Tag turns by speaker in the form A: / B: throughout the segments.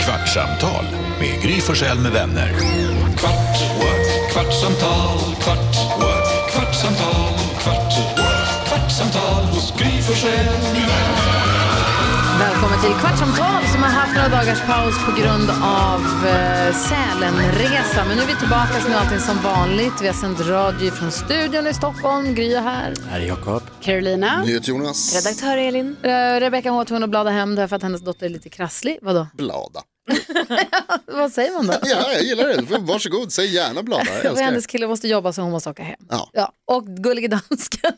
A: Kvartsamtal med Gry Forssell med vänner. Kvart, what? kvartsamtal, kvart, what? kvartsamtal, kvart, what? kvartsamtal hos Gry Forssell med vänner.
B: Välkommen till Kvartsamtal som har haft några dagars paus på grund av eh, Sälenresa. Men nu är vi tillbaka som allting som vanligt. Vi har sänt radio från studion i Stockholm. Gry är här.
C: Här är Jakob.
B: Carolina.
D: Jonas.
B: Redaktör Elin. Eh, Rebecka var tvungen att blada hem därför att hennes dotter är lite krasslig. Vadå?
D: Blada.
B: Vad säger man då?
D: Ja, jag gillar det. Varsågod, säg gärna blada. Jag
B: Och
D: älskar det.
B: hennes kille måste jobba så hon måste åka hem.
D: Ja.
B: Och gullige dansken.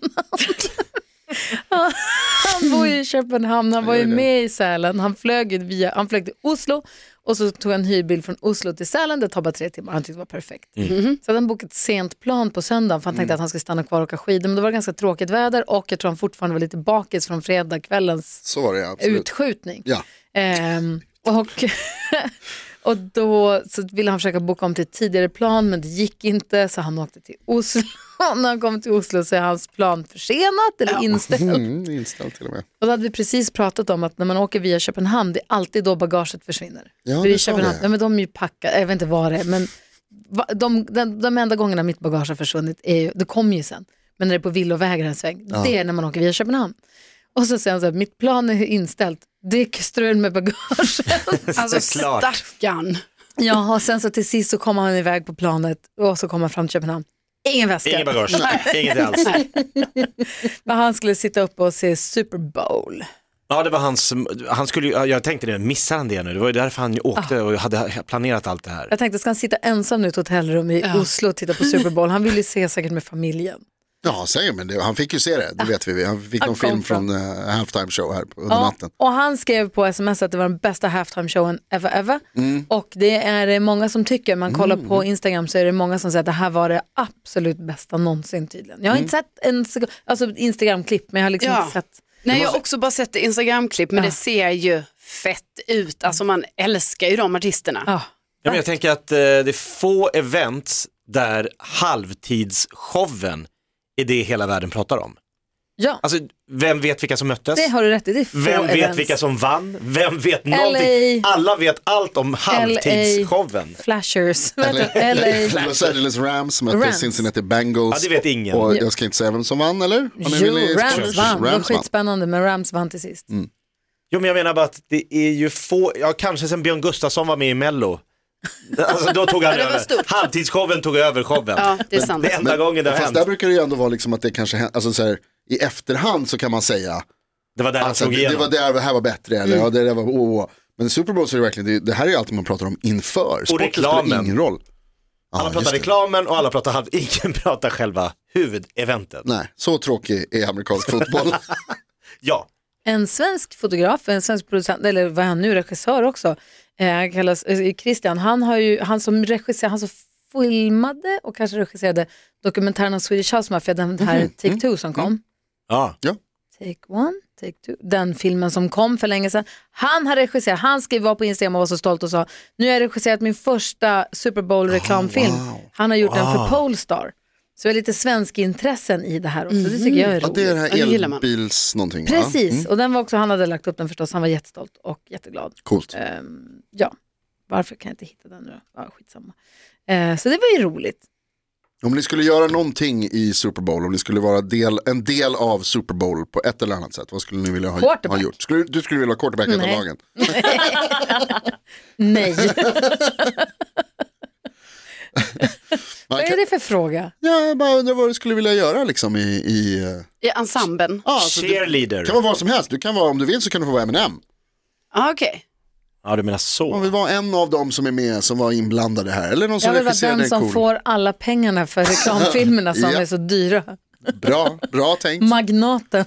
B: han bor ju i Köpenhamn, han var ju med i Sälen. Han flög, ju via, han flög till Oslo och så tog han hyrbil från Oslo till Sälen. Det tar bara tre timmar. Han tyckte det var perfekt.
D: Mm.
B: Så hade han bokat ett sent plan på söndagen för han tänkte att han skulle stanna kvar och åka skidor. Men det var ganska tråkigt väder och jag tror han fortfarande var lite bakis från fredagkvällens
D: Så var det ja, absolut.
B: utskjutning.
D: Ja.
B: Ehm, och, och då så ville han försöka boka om till ett tidigare plan men det gick inte så han åkte till Oslo. När han kom till Oslo så är hans plan försenat eller inställt.
D: Mm, inställd till och med.
B: Och då hade vi precis pratat om att när man åker via Köpenhamn det är alltid då bagaget försvinner.
D: Ja,
B: För i
D: det sa
B: Köpenhamn,
D: vi.
B: ja, men de är ju packade, jag vet inte vad det är men va, de, de, de enda gångerna mitt bagage har försvunnit, är, ju- det kommer ju sen, men när det är på villovägar en sväng, det är när man åker via Köpenhamn. Och så säger han så här, mitt plan är inställt, det är strul med bagaget.
E: Alltså
C: Såklart.
E: stackarn.
B: Ja, och sen så till sist så kommer han iväg på planet och så kommer han fram till Köpenhamn. Ingen väska.
C: Ingen bagage, inget alls.
B: Men han skulle sitta uppe och se Super Bowl.
C: Ja, det var hans, han skulle, ju- jag tänkte det, missar han det nu? Det var ju därför han åkte och hade planerat allt det här.
B: Jag tänkte, ska han sitta ensam nu i ett hotellrum i Oslo och titta på Super Bowl? Han vill ju se säkert med familjen.
D: Ja, säger men det, han fick ju se det, det vet vi. Han fick
B: Han
D: någon
B: kom
D: film
B: fram.
D: från eh, halftime show här på- under
B: Ja,
D: natten.
B: och han skrev på sms att det var den bästa halftime-showen ever, ever.
C: Mm.
B: Och det är det många som tycker, man kollar på Instagram så är det många som säger att det här var det absolut bästa någonsin tydligen. Jag har
C: Mm.
B: inte sett en sekund, alltså Instagram-klipp, men jag har liksom
E: Ja.
B: inte sett.
E: Nej, jag har också bara sett Instagram-klipp, men det ser ju fett ut. Alltså man älskar ju de artisterna.
B: Ja.
C: Ja, men jag tänker att eh, det är få events där halvtidsshowen är det hela världen pratar om.
B: ja,
C: Alltså, vem vet vilka som möttes?
B: det har du rätt i. Det är få
C: Vem vet
B: events.
C: vilka som vann? Vem vet någonting? Alla vet allt om halvtidsshowen.
B: Flashers.
D: Eller-
B: LA.
D: Los Angeles Rams mötte
B: Rams.
D: Cincinnati Bengals.
C: Ja, det vet ingen.
D: Och jag ska inte säga vem som vann, eller? Har ni
B: Jo,
D: vill i-
B: Rams vann. Det var
D: Rams vann. Mm.
B: skitspännande, men Rams vann till sist.
C: Jo men jag menar bara att det är ju få, ja kanske sen Björn Gustafsson var med i Mello. Alltså då tog han
E: det var
C: över,
E: stort.
C: halvtidsshowen tog över showen.
E: Ja, det är sant.
C: Det är enda gången det har
D: Fast
C: hänt.
D: där brukar det ju ändå vara liksom att det kanske händer, alltså så här, i efterhand så kan man säga
C: Det var där han
D: Alltså,
C: slog
D: det, det
C: igenom.
D: var där, det här var bättre, eller ja, det där var åh, åh. Men Super Bowl så är det verkligen, det, det här är ju alltid man pratar om inför. Sporten spelar
C: reklamen.
D: ingen roll. Ja,
C: Alla
D: just
C: pratar
D: det.
C: reklamen och alla pratar halv, ingen pratar själva huvudeventet.
D: Nej, så tråkig är amerikansk fotboll.
C: Ja,
B: En svensk fotograf, en svensk producent, eller vad är han nu, regissör också, eh, han kallas eh, Christian, han, har ju, han som regisserade, han som filmade och kanske regisserade dokumentären om Swedish House Mafia, den här
D: Mhm.
B: Take
D: Mm.
B: Two som kom.
C: ja.
B: Take One, Take Two, den filmen som kom för länge sedan. Han har regisserat, han skrev var på Instagram och var så stolt och sa, nu har jag regisserat min första Super Bowl-reklamfilm.
D: Oh,
B: Han har gjort den för Polestar. Så det är lite svensk intressen i det här också, det tycker jag är
D: Mm. ja,
B: roligt.
D: det är det
E: Ja, det
D: här
E: gillar man.
D: elbils någonting. va?
B: Precis,
D: Mm,
B: och den var också, han hade lagt upp den förstås, han var jättestolt och jätteglad.
D: coolt.
B: Ehm, ja, varför kan jag inte hitta den nu då? Ja, skitsamma. Eh, så det var ju roligt.
D: Om ni skulle göra någonting i Super Bowl, om ni skulle vara del, en del av Super Bowl på ett eller annat sätt, vad skulle ni vilja ha, ha
B: Quarterback.
D: gjort? Skulle, du skulle vilja ha quarterback i
B: Nej.
D: lagen?
B: Nej,
D: Man
B: vad är
D: kan-
B: det för fråga?
D: Ja, jag bara undrar vad du skulle vilja göra liksom i... i eh,
E: I ensemblen.
D: ja, alltså, det
C: Cheerleader.
D: kan vara vad som helst, du kan vara, om du vill så kan du få vara M&M.
E: Ja, okej.
C: Ja du menar
D: Man
C: så.
D: vill vara en av dem som är med, som var inblandade här. Eller någon
B: Jag
D: som
B: vill vara
D: regisserade
B: den
D: en
B: som
D: cool.
B: får alla pengarna för reklamfilmerna som
D: Ja.
B: är så dyra.
D: Bra, bra tänkt.
B: Magnaten,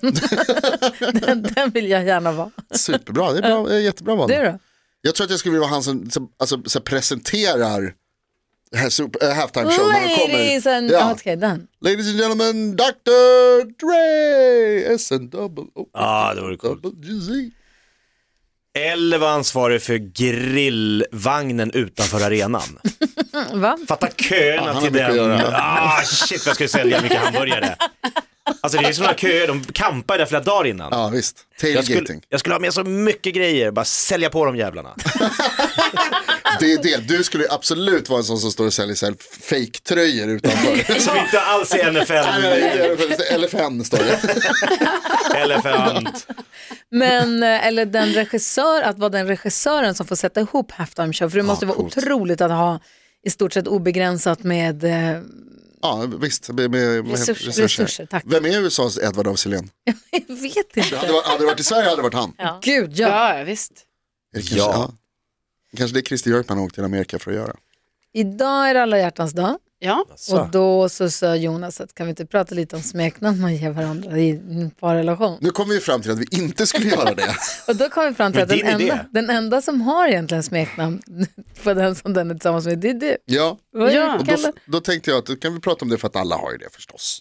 B: den, den vill jag gärna vara.
D: Superbra, det är bra, det är jättebra val.
B: Du då?
D: Jag tror att jag skulle vilja vara han som, som alltså, så här, presenterar det här super- eh, halftime show när han
B: Ladies
D: kommer.
B: and... Ja.
D: Ja.
B: Okej, den.
D: Ladies and gentlemen, Dr. Dre, S&double
C: Ja det vore coolt.
D: double
C: Eller var ansvarig för grillvagnen utanför arenan.
B: Va?
C: Fatta köerna
D: han har
C: till
D: mycket att
C: den.
D: göra.
C: Ah, shit vad jag skulle sälja mycket hamburgare. Alltså det är sådana köer, de kampar där flera dagar innan.
D: Ja visst,
C: jag,
D: tailgating.
C: skulle, jag skulle ha med så mycket grejer, bara sälja på de jävlarna.
D: Det är det. Du skulle ju absolut vara en sån som står och säljer så här fake-tröjor utanför.
C: Som inte alls är NFL,
D: LFN står det.
C: elefant.
B: Men, eh, eller den regissör, att vara den regissören som får sätta ihop halftime show. För det måste vara
D: coolt.
B: otroligt att ha i stort sett obegränsat med eh,
D: Ja visst, med, med, med
B: Resurs- resurser, tack.
D: Vem är USAs Edward af Sillén?
B: Jag vet inte.
D: Hade, det- hade det varit i Sverige hade det varit han. Ja.
B: Gud, ja.
E: Ja, visst.
D: Kanske,
C: Ja.
D: ja. kanske det är Christer Björkman har åkt till Amerika för att göra.
B: Idag är det alla hjärtans dag.
E: Ja.
B: Och då så sa Jonas att kan vi inte prata lite om smeknamn man ger varandra i en parrelation?
D: Nu kom vi ju fram till att vi inte skulle göra det.
B: Och då kom vi fram till
C: Men
B: att den
C: din idé.
B: enda, den enda som har egentligen smeknamn på den som den är tillsammans med, det är du.
D: Ja,
B: Vad är
E: Ja.
B: det du
D: och då,
B: kallar-
D: då tänkte jag att då kan vi prata om det för att alla har ju det förstås.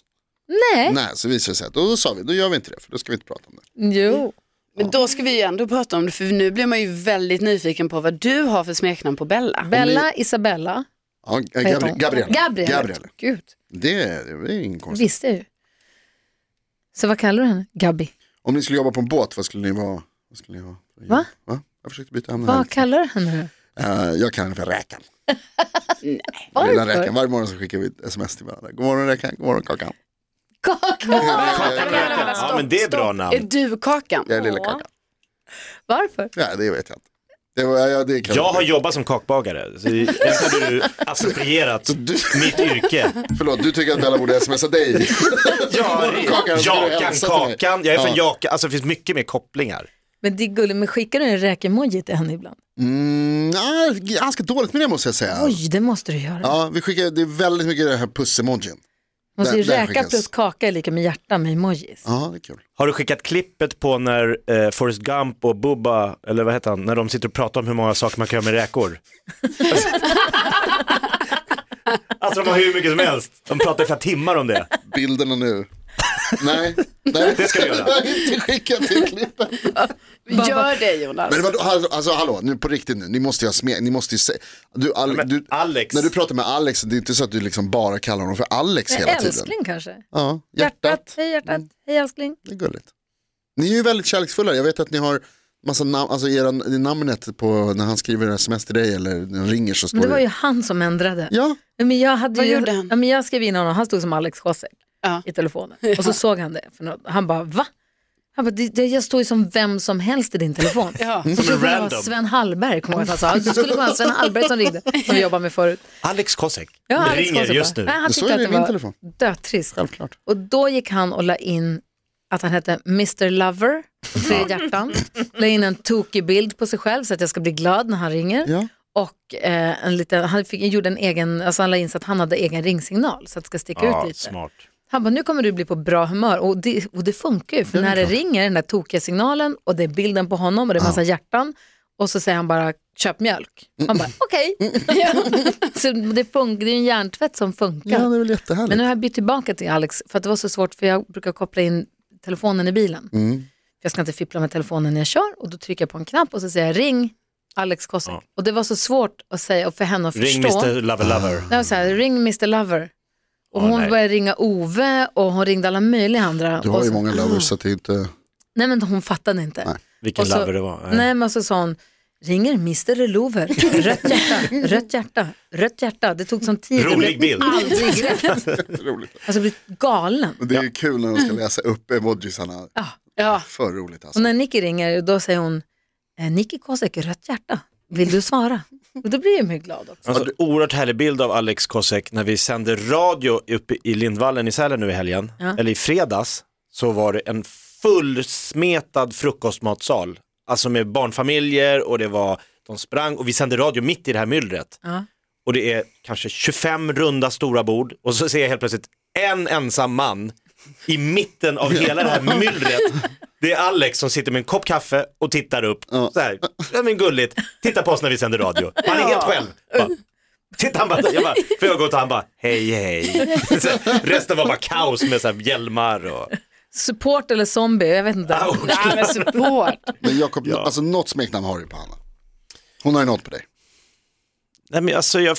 B: Nej,
D: Nej, så visade det sig att och då sa vi, då gör vi inte det för då ska vi inte prata om det.
B: jo.
E: Men då ska vi ju ändå prata om det, för nu blir man ju väldigt nyfiken på vad du har för smeknamn på Bella.
B: Bella, Isabella.
D: Ja,
B: vad heter
D: Gabriel,
B: hon?
D: Gabriel.
B: Gabriel.
D: Gabriel.
B: Gud,
D: Det, är- det är ingen
B: det
D: konstigt.
B: visste jag ju. Så vad kallar du henne? Gabby.
D: Om ni skulle jobba på en båt, vad skulle ni vara? Vad skulle ni vara?
B: Va?
D: Va? Jag försökte byta ämne. här.
B: Vad kallar du henne?
D: Eh, jag kallar henne för Räkan. Lilla räkan.
B: Varför?
D: Varje morgon så skickar vi ett sms till varandra. God morgon Räkan, god morgon Kakan.
B: Kaka.
C: Ja men det är bra
E: Är
C: namn.
E: du Kakan?
D: Jag är lilla Kakan.
B: Varför?
D: Ja, det vet jag inte. Det var, ja, det kan
C: Jag har jobbat som kakbagare, så det har du approprierat
D: du,
C: mitt yrke.
D: förlåt, du tycker att Bella borde smsa dig.
C: Ja,
D: Kakan, ska du
C: Jakan,
D: hälsa till mig?
C: Kakan, jag är
D: Alltså, Ja.
C: från Jakan, alltså det finns mycket mer kopplingar.
B: Men det är gulligt, men skickar du en räkemoji till henne ibland?
D: Mm, nej, ganska dåligt med det måste jag säga.
B: Oj, det måste du göra.
D: Ja, vi skickar, det är väldigt mycket den här pussemojin.
B: Måste ju
D: Där- där
B: räka
D: skickas.
B: plus kaka är lika med hjärta med emojis.
D: Ja, det är kul.
C: Har du skickat klippet på när eh, Forrest Gump och Bubba, eller vad heter han, när de sitter och pratar om hur många saker man kan göra med räkor? alltså de har hur mycket som helst, de pratar i flera timmar om det.
D: Bilderna nu. nej, nej,
C: Det ska vi göra.
D: Jag har inte skickat till klippet.
E: Gör det Jonas.
D: Men vadå, hall- alltså hallå, nu på riktigt nu, ni måste ju ha smek, ni måste ju säga. Du, Ale-
C: Men
D: du,
C: Alex,
D: när du pratar med Alex, det är inte så att du liksom bara kallar honom för Alex
B: Nej,
D: hela tiden.
B: älskling kanske?
D: Ja, hjärtat. Mm.
B: Hjärtat, hej hjärtat, hej älskling.
D: Det är gulligt. Ni är ju väldigt kärleksfulla. Jag vet att ni har massa namn, alltså era, i namnet på när han skriver sms till dig eller när han ringer så står
B: Men det var ju
D: det.
B: han som ändrade.
D: Ja,
B: Men jag hade
E: Vad
B: ju,
E: gjorde han?
B: Ja, men jag skrev in honom, han stod som Alex Kosek
E: Ja.
B: i telefonen. Och så såg han det, för något. han bara va? Han bara, "Det- det- jag står ju som vem som helst i din telefon.
E: Ja.
B: Och så
C: Som en
B: skulle det vara
C: random.
B: Sven Hallberg, kommer jag ihåg att han sa. Det skulle vara Sven Hallberg som ringde, som vi jobbade med förut.
C: Alex Kosek
B: Ja, Alex
C: ringer
B: Kosek
C: just
B: bara.
C: nu.
B: Nej, han
D: Men så
B: tyckte
D: är
B: att
D: det
B: det
D: i min
B: var
D: telefon.
B: dötrist.
D: självklart.
B: Och då gick han och la in att han hette Mr Lover, tre hjärtan. La in en tokig bild på sig själv så att jag ska bli glad när han ringer.
D: Ja.
B: Och eh, en liten, han fick, gjorde en egen, alltså han la in så att han hade egen ringsignal så att det ska sticka ut
C: Ja,
B: lite.
C: smart.
B: Han bara, nu kommer du bli på bra humör och det, och det funkar ju för när det ringer den där tokiga signalen och det är bilden på honom och det är massa hjärtan och så säger han bara köp mjölk.
D: Mm.
B: Man bara okej. så det, fun- det är ju en hjärntvätt som funkar.
D: ja, det är väl jättehärligt.
B: Men nu har jag bytt tillbaka till Alex för att det var så svårt för jag brukar koppla in telefonen i bilen.
D: Mm.
B: Jag ska inte fippla med telefonen när jag kör och då trycker jag på en knapp och så säger jag ring Alex Kosek. Och det var så svårt att säga och för henne att
C: Ring
B: förstå.
C: Mr Lover Lover.
B: Det var så här, ring Mr Lover. Och
C: Åh,
B: hon
C: nej.
B: började ringa Ove och hon ringde alla möjliga andra.
D: Du har
B: och
D: ju
B: så,
D: många lovers så att det är inte...
B: Nej men hon fattade inte.
D: Nej.
C: Vilken
B: Och så-
C: lover det var.
B: Nej, men så sa hon, ringer Mr Lover. Rött hjärta, rött hjärta, rött hjärta. Det tog sån tid. Jag
C: Rolig
B: blev
C: bild.
B: aldrig rätt. Alltså jag blev galen.
D: Men det är ju kul när de ska läsa upp emojisarna.
E: Ja.
D: För roligt
B: Ah.
D: alltså.
B: Och när Nicky ringer, då säger hon, eh, Nicky Kosek, rött hjärta, vill du svara? Och då blir jag mig glad också.
C: Alltså, oerhört härlig bild av Alex Kosek när vi sände radio uppe i Lindvallen i Sälen nu i helgen,
B: Ja.
C: eller i fredags, så var det en fullsmetad frukostmatsal. Alltså med barnfamiljer och det var, de sprang och vi sände radio mitt i det här myllret.
B: Ja.
C: Och det är kanske 25 runda stora bord och så ser jag helt plötsligt en ensam man i mitten av hela det här myllret. Det är Alex som sitter med en kopp kaffe och tittar upp.
D: Ja.
C: Så här, ja, men gulligt, titta på oss när vi sänder radio. Han är helt själv. Bara, Titta han bara, jag bara, för jag går till han bara, hej hej. Så, resten var bara kaos med så här hjälmar och...
B: Support eller zombie, jag vet inte.
C: Au.
E: Nej, men support.
D: Men Jakob, alltså något smeknamn har du på Hanna. Hon har ju något på dig.
C: Nej men alltså jag...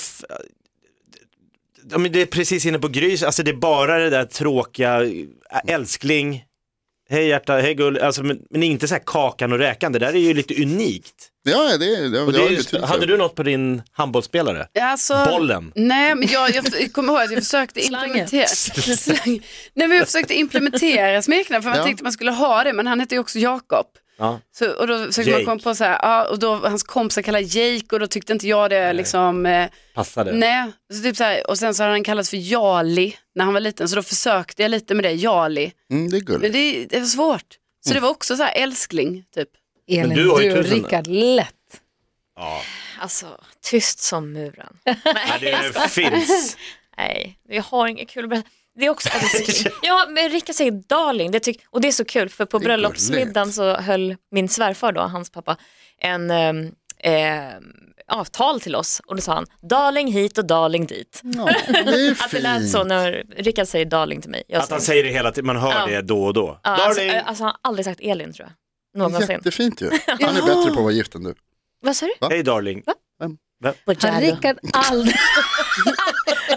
C: ja, men det är precis inne på Grys, alltså det är bara det där tråkiga, äh, älskling, hej hjärta, hej gull, alltså, men, men inte så här kakan och räkan, det där är ju lite unikt.
D: Ja, det, det, det,
C: Och det
D: har
C: är
D: ju
C: ju,
D: betydelse.
C: hade du något på din handbollsspelare?
E: Ja, Alltså,
C: Bollen.
E: Nej, men jag, jag kommer ihåg att jag försökte
B: Slangen.
E: implementera, Slang. nej, men jag försökte implementera smeknamn för man
D: Ja.
E: tänkte man skulle ha det, men han hette ju också Jakob.
C: Ja.
E: Så, och då försökte
C: Jake.
E: man komma på så här, ja, och då hans kompisar kallar Jake och då tyckte inte jag det liksom, eh,
C: Passade.
E: nej. Så typ så här, och sen så hade han kallats för Jali när han var liten, så då försökte jag lite med det, Jali.
D: Mm, det är gulligt.
E: Men det, det var svårt. Så
C: Mm.
E: det var också så här älskling, typ.
B: Elin,
C: du
B: du,
C: har ju
B: och
C: tusen.
B: Rickard, lätt.
F: Alltså, tyst som muren.
C: Nej, det finns.
F: Nej, vi har inget kul bröllop. Det är också att det är så kul. Ja, men Rickard säger darling, det tyck- och det är så kul för på
D: är gulligt.
F: bröllopsmiddagen så höll min svärfar då, hans pappa, en ehm, ehm, avtal till oss och då sa han darling hit och darling dit.
D: Ja, det är
F: Att det lät så
D: Mm. fint.
F: när Rickard säger darling till mig. Jag
C: Att han
F: säger-
C: säger det hela tiden, man hör
F: Ja.
C: det då och då.
F: Ja, alltså,
C: Darling!
F: eh, alltså han har aldrig sagt Elin tror jag. Någonsin.
D: Jättefint ju. Han är bättre på att vara gift än du.
F: Vad sa du?
C: Hej darling.
B: Har Rickard aldrig,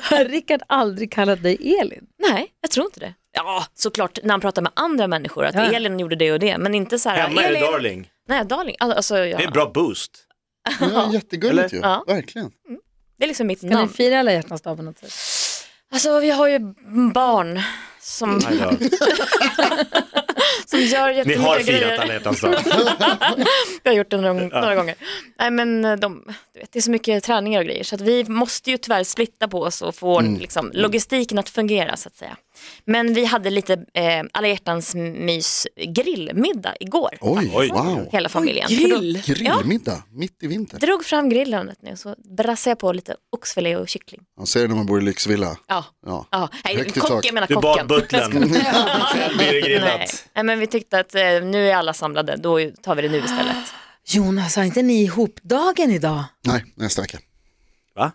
B: har Rickard aldrig kallat dig Elin?
F: Nej, jag tror inte det. Ja, såklart när han pratar med andra människor att
B: Ja.
F: Elin gjorde det och det, men inte så här.
C: Hemma är det
F: Elin.
C: darling.
F: Nej, darling. Alltså, ja.
C: Det är en bra boost.
D: Ja, jättegulligt ju.
F: Ja.
D: Verkligen.
F: det är liksom mitt
B: Kan
F: namn.
B: ni fira alla hjärtans dag på något sätt?
F: Alltså vi har ju barn som,
C: Nej, då.
F: som gör
C: Mm. Ni har
F: jättemycket
C: firat alltså. alla
F: grejer.
C: hjärtans dag.
F: Jag har gjort det några, några gånger. Nej men eh, de, du vet, det är så mycket träningar och grejer så att vi måste ju tyvärr splitta på oss och få
C: Mm.
F: liksom, logistiken att fungera så att säga. Men vi hade lite eh, alla hjärtans mys grillmiddag igår.
D: Oj,
C: Oj.
D: wow.
F: Hela familjen. För då
E: Grill!
D: Grillmiddag, mitt i vintern.
F: drog fram grillen vet ni, och så brassade jag på lite oxfilé och kyckling.
D: Man ser det när man bor i lyxvilla.
F: Ja.
D: Ja.
F: Ja, nej,
D: Högt i
F: kock,
D: tak.
F: jag menar
C: Du
F: kocken.
C: bad butlern. Ikväll blir det
F: Nej.
C: grillat.
F: Nej, men vi tyckte att eh, nu är alla samlade, då tar vi det nu istället.
B: Jonas, har inte ni ihop dagen idag?
D: Nej, nästa vecka.
C: Va?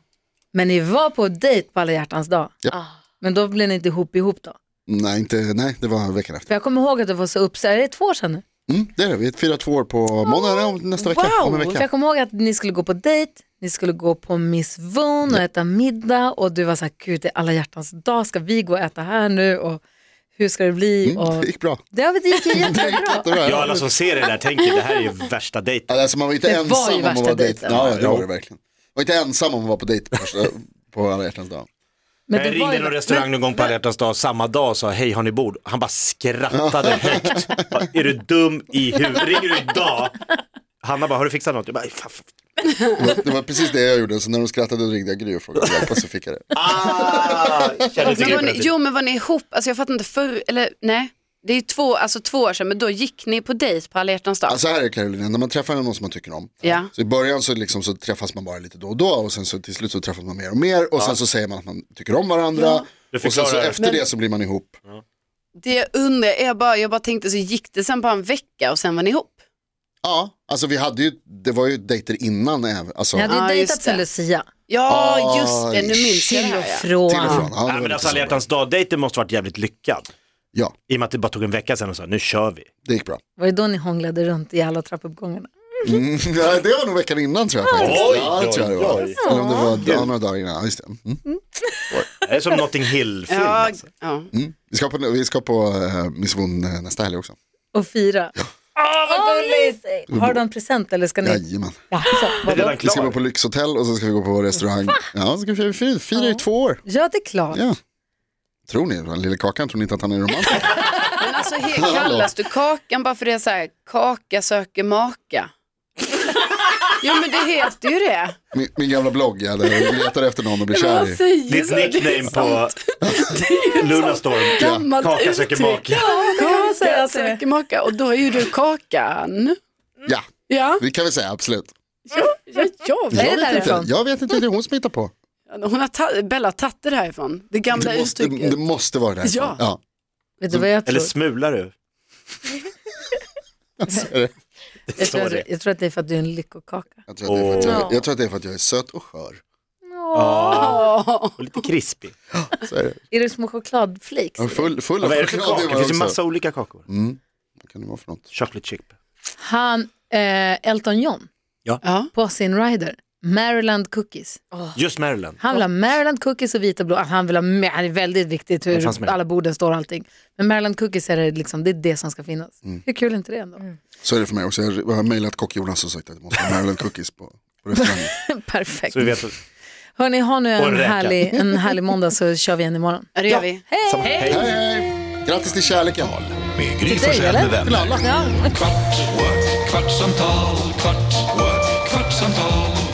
B: Men ni var på dejt på alla hjärtans dag.
D: Japp.
F: Ah.
B: Men då blev ni inte ihop ihop då?
D: Nej, inte, nej, det var veckan efter.
B: För jag kommer ihåg att du var så uppsagd, är det två år sedan nu?
D: Mm, det är det, vi firar två år på måndag nej, om- nästa vecka. Om en
B: Wow! För
D: vecka.
B: jag kommer ihåg att ni skulle gå på dejt, ni skulle gå på Miss Von och äta middag och du var så här, gud det är alla hjärtans dag, ska vi gå och äta här nu och hur ska det bli?
D: Mm,
B: Och...
D: det gick bra.
B: Det har vi gick ju jättebra.
D: Det var,
C: Ja, alla som ser det där tänker det här är ju värsta dejten.
D: alltså, man var inte
B: Det var ju
D: ensam om
B: värsta
D: att vara dejt.
B: dejten.
D: Ja, det
C: Jo.
D: var det verkligen. Man var inte ensam om att vara på dejt på, första- på alla hjärtans dag.
B: Men
C: jag
B: det var
C: ringde
B: ju...
C: någon restaurang någon gång på alla hjärtans dag samma dag och sa hej har ni bord? Han bara skrattade högt. Bara, Är du dum i huvudet? Ringer du idag? Hanna bara har du fixat något? Jag bara, "Fan, fan."
D: Det var, det var precis det jag gjorde, så när de skrattade ringde jag Gry och frågade om hjälp och så fick jag det.
C: ah, känner inte
E: Alltså, Men var ni,
C: grejen.
E: jo men var ni ihop, alltså jag fattar inte förr, eller nej, det är ju två, alltså två år sedan, men då gick ni på dejt på alla hjärtans dag.
D: Alltså här är det, Carolina, när man träffar någon som man tycker om,
E: Ja.
D: så i början så, liksom, så träffas man bara lite då och då och sen så till slut så träffas man mer och mer och sen så säger man att man tycker om varandra
C: Du
D: och sen så
C: förklarar.
D: efter
E: Men-
D: det så blir man ihop.
E: Det jag undrar, jag bara, jag bara tänkte så gick det sen bara en vecka och sen var ni ihop?
D: Ja, alltså vi hade ju, det var ju dejter innan även, alltså
B: Ni hade ju
E: Ja, just
B: dejtat sen
E: det.
B: Lucia.
E: Ja
D: Aj.
E: just det, nu minns jag det
B: Till och
E: här.
B: från.
E: Ja.
D: till och från. Ja, det var
C: Nej, men
D: lite
C: alltså
D: så
C: alla
D: bra.
C: hjärtans dag-dejten måste varit jävligt lyckad.
D: ja,
C: I och med att det bara tog en vecka sedan och sa nu kör vi.
D: det gick bra.
B: Var det då ni hånglade runt i alla trappuppgångarna?
D: Mm, ja, det var nog veckan innan tror jag faktiskt.
C: Oj,
D: ja, det tror jag det var.
C: oj,
D: Eller om det var ja, några dagar innan. Ja, just det. Mm.
C: Det är som Notting Hill-film.
E: Ja,
C: alltså.
E: ja.
D: Mm. Vi ska på, vi ska på eh, Miss Von eh, nästa helg också.
B: Och fira? Åh, vad gulligt! Har du någon present eller ska ni?
D: Jajamän.
B: Jaså,
C: Det är
B: vadå?
C: redan
D: Vi ska gå
C: klar.
D: på lyxhotell och så ska vi gå på restaurang. Ja, så ska vi fira, fira, fira i två år.
B: Ja, det är klart.
D: Ja. Tror ni, den lille Kakan, tror ni inte att han är romantiker?
E: Men alltså he- kallas du Kakan bara för det är så här, kaka söker maka? ja men det heter ju det.
D: Min, min gamla blogg, jag hade- letar efter någon och blir kär i.
E: säger
C: Ditt nickname på Lunarstorm.
E: liksom Gammalt
C: Kaka söker
E: uttryck.
C: maka.
E: Kaka
B: säga så.
E: söker maka och då är ju du Kakan.
D: Ja,
E: Ja,
D: det kan vi säga absolut.
E: ja,
B: Är
E: ja, ja.
B: det
D: Jag
E: typ-
D: vet, inte,
B: därifrån?
D: jag vet inte hur hon smittar på.
E: Hon har ta- Bella har tagit det härifrån, det gamla
D: Det måste,
E: uttrycket.
D: det måste vara det.
E: Ja.
D: ja.
B: Vet du vad jag tror?
C: Eller smular du?
B: Jag
C: Så är
B: tror,
C: det.
B: jag tror att det är för att du är en lyckokaka.
D: Jag, tror att det är för att
F: Åh.
D: jag, jag tror att det är för att jag är söt och skör.
E: Åh.
C: Och lite krispig.
D: Så är det.
B: Är det små chokladflakes?
D: Jag är full, full av
C: Vad är det för
D: choklad.
C: kakor? Det finns ju
D: också.
C: massa olika kakor.
D: Mm. Vad kan det vara för något?
C: Chocolate chip.
B: Han, eh, Elton John,
E: Ja.
B: på sin rider Maryland cookies.
C: Just Maryland.
B: Han vill ha Maryland cookies och vita blå. Han vill ha, Ma- det är väldigt viktigt
C: Det fanns
B: hur
C: med.
B: alla borden står och allting. Men Maryland cookies är det, liksom, det, är det som ska finnas. Hur kul är inte det ändå?
D: Så är det för mig också. Jag har mejlat kock-Jonas och sagt att jag måste ha Maryland cookies på, på restaurangen.
B: Perfekt.
C: Så vi vet.
B: Hörni, ha nu
C: Och en
B: en
C: räka.
B: härlig, en härlig måndag så kör vi igen imorgon.
E: Ja, det gör vi.
C: Samma. Hej.
D: Hej, hej! Grattis till kärleken.
A: Med Gry
B: dig,
A: Forssell med
B: eller?
D: Till
A: vänner.
D: alla.
A: Kvart, what? kvartsamtal, kvart, what? kvartsamtal,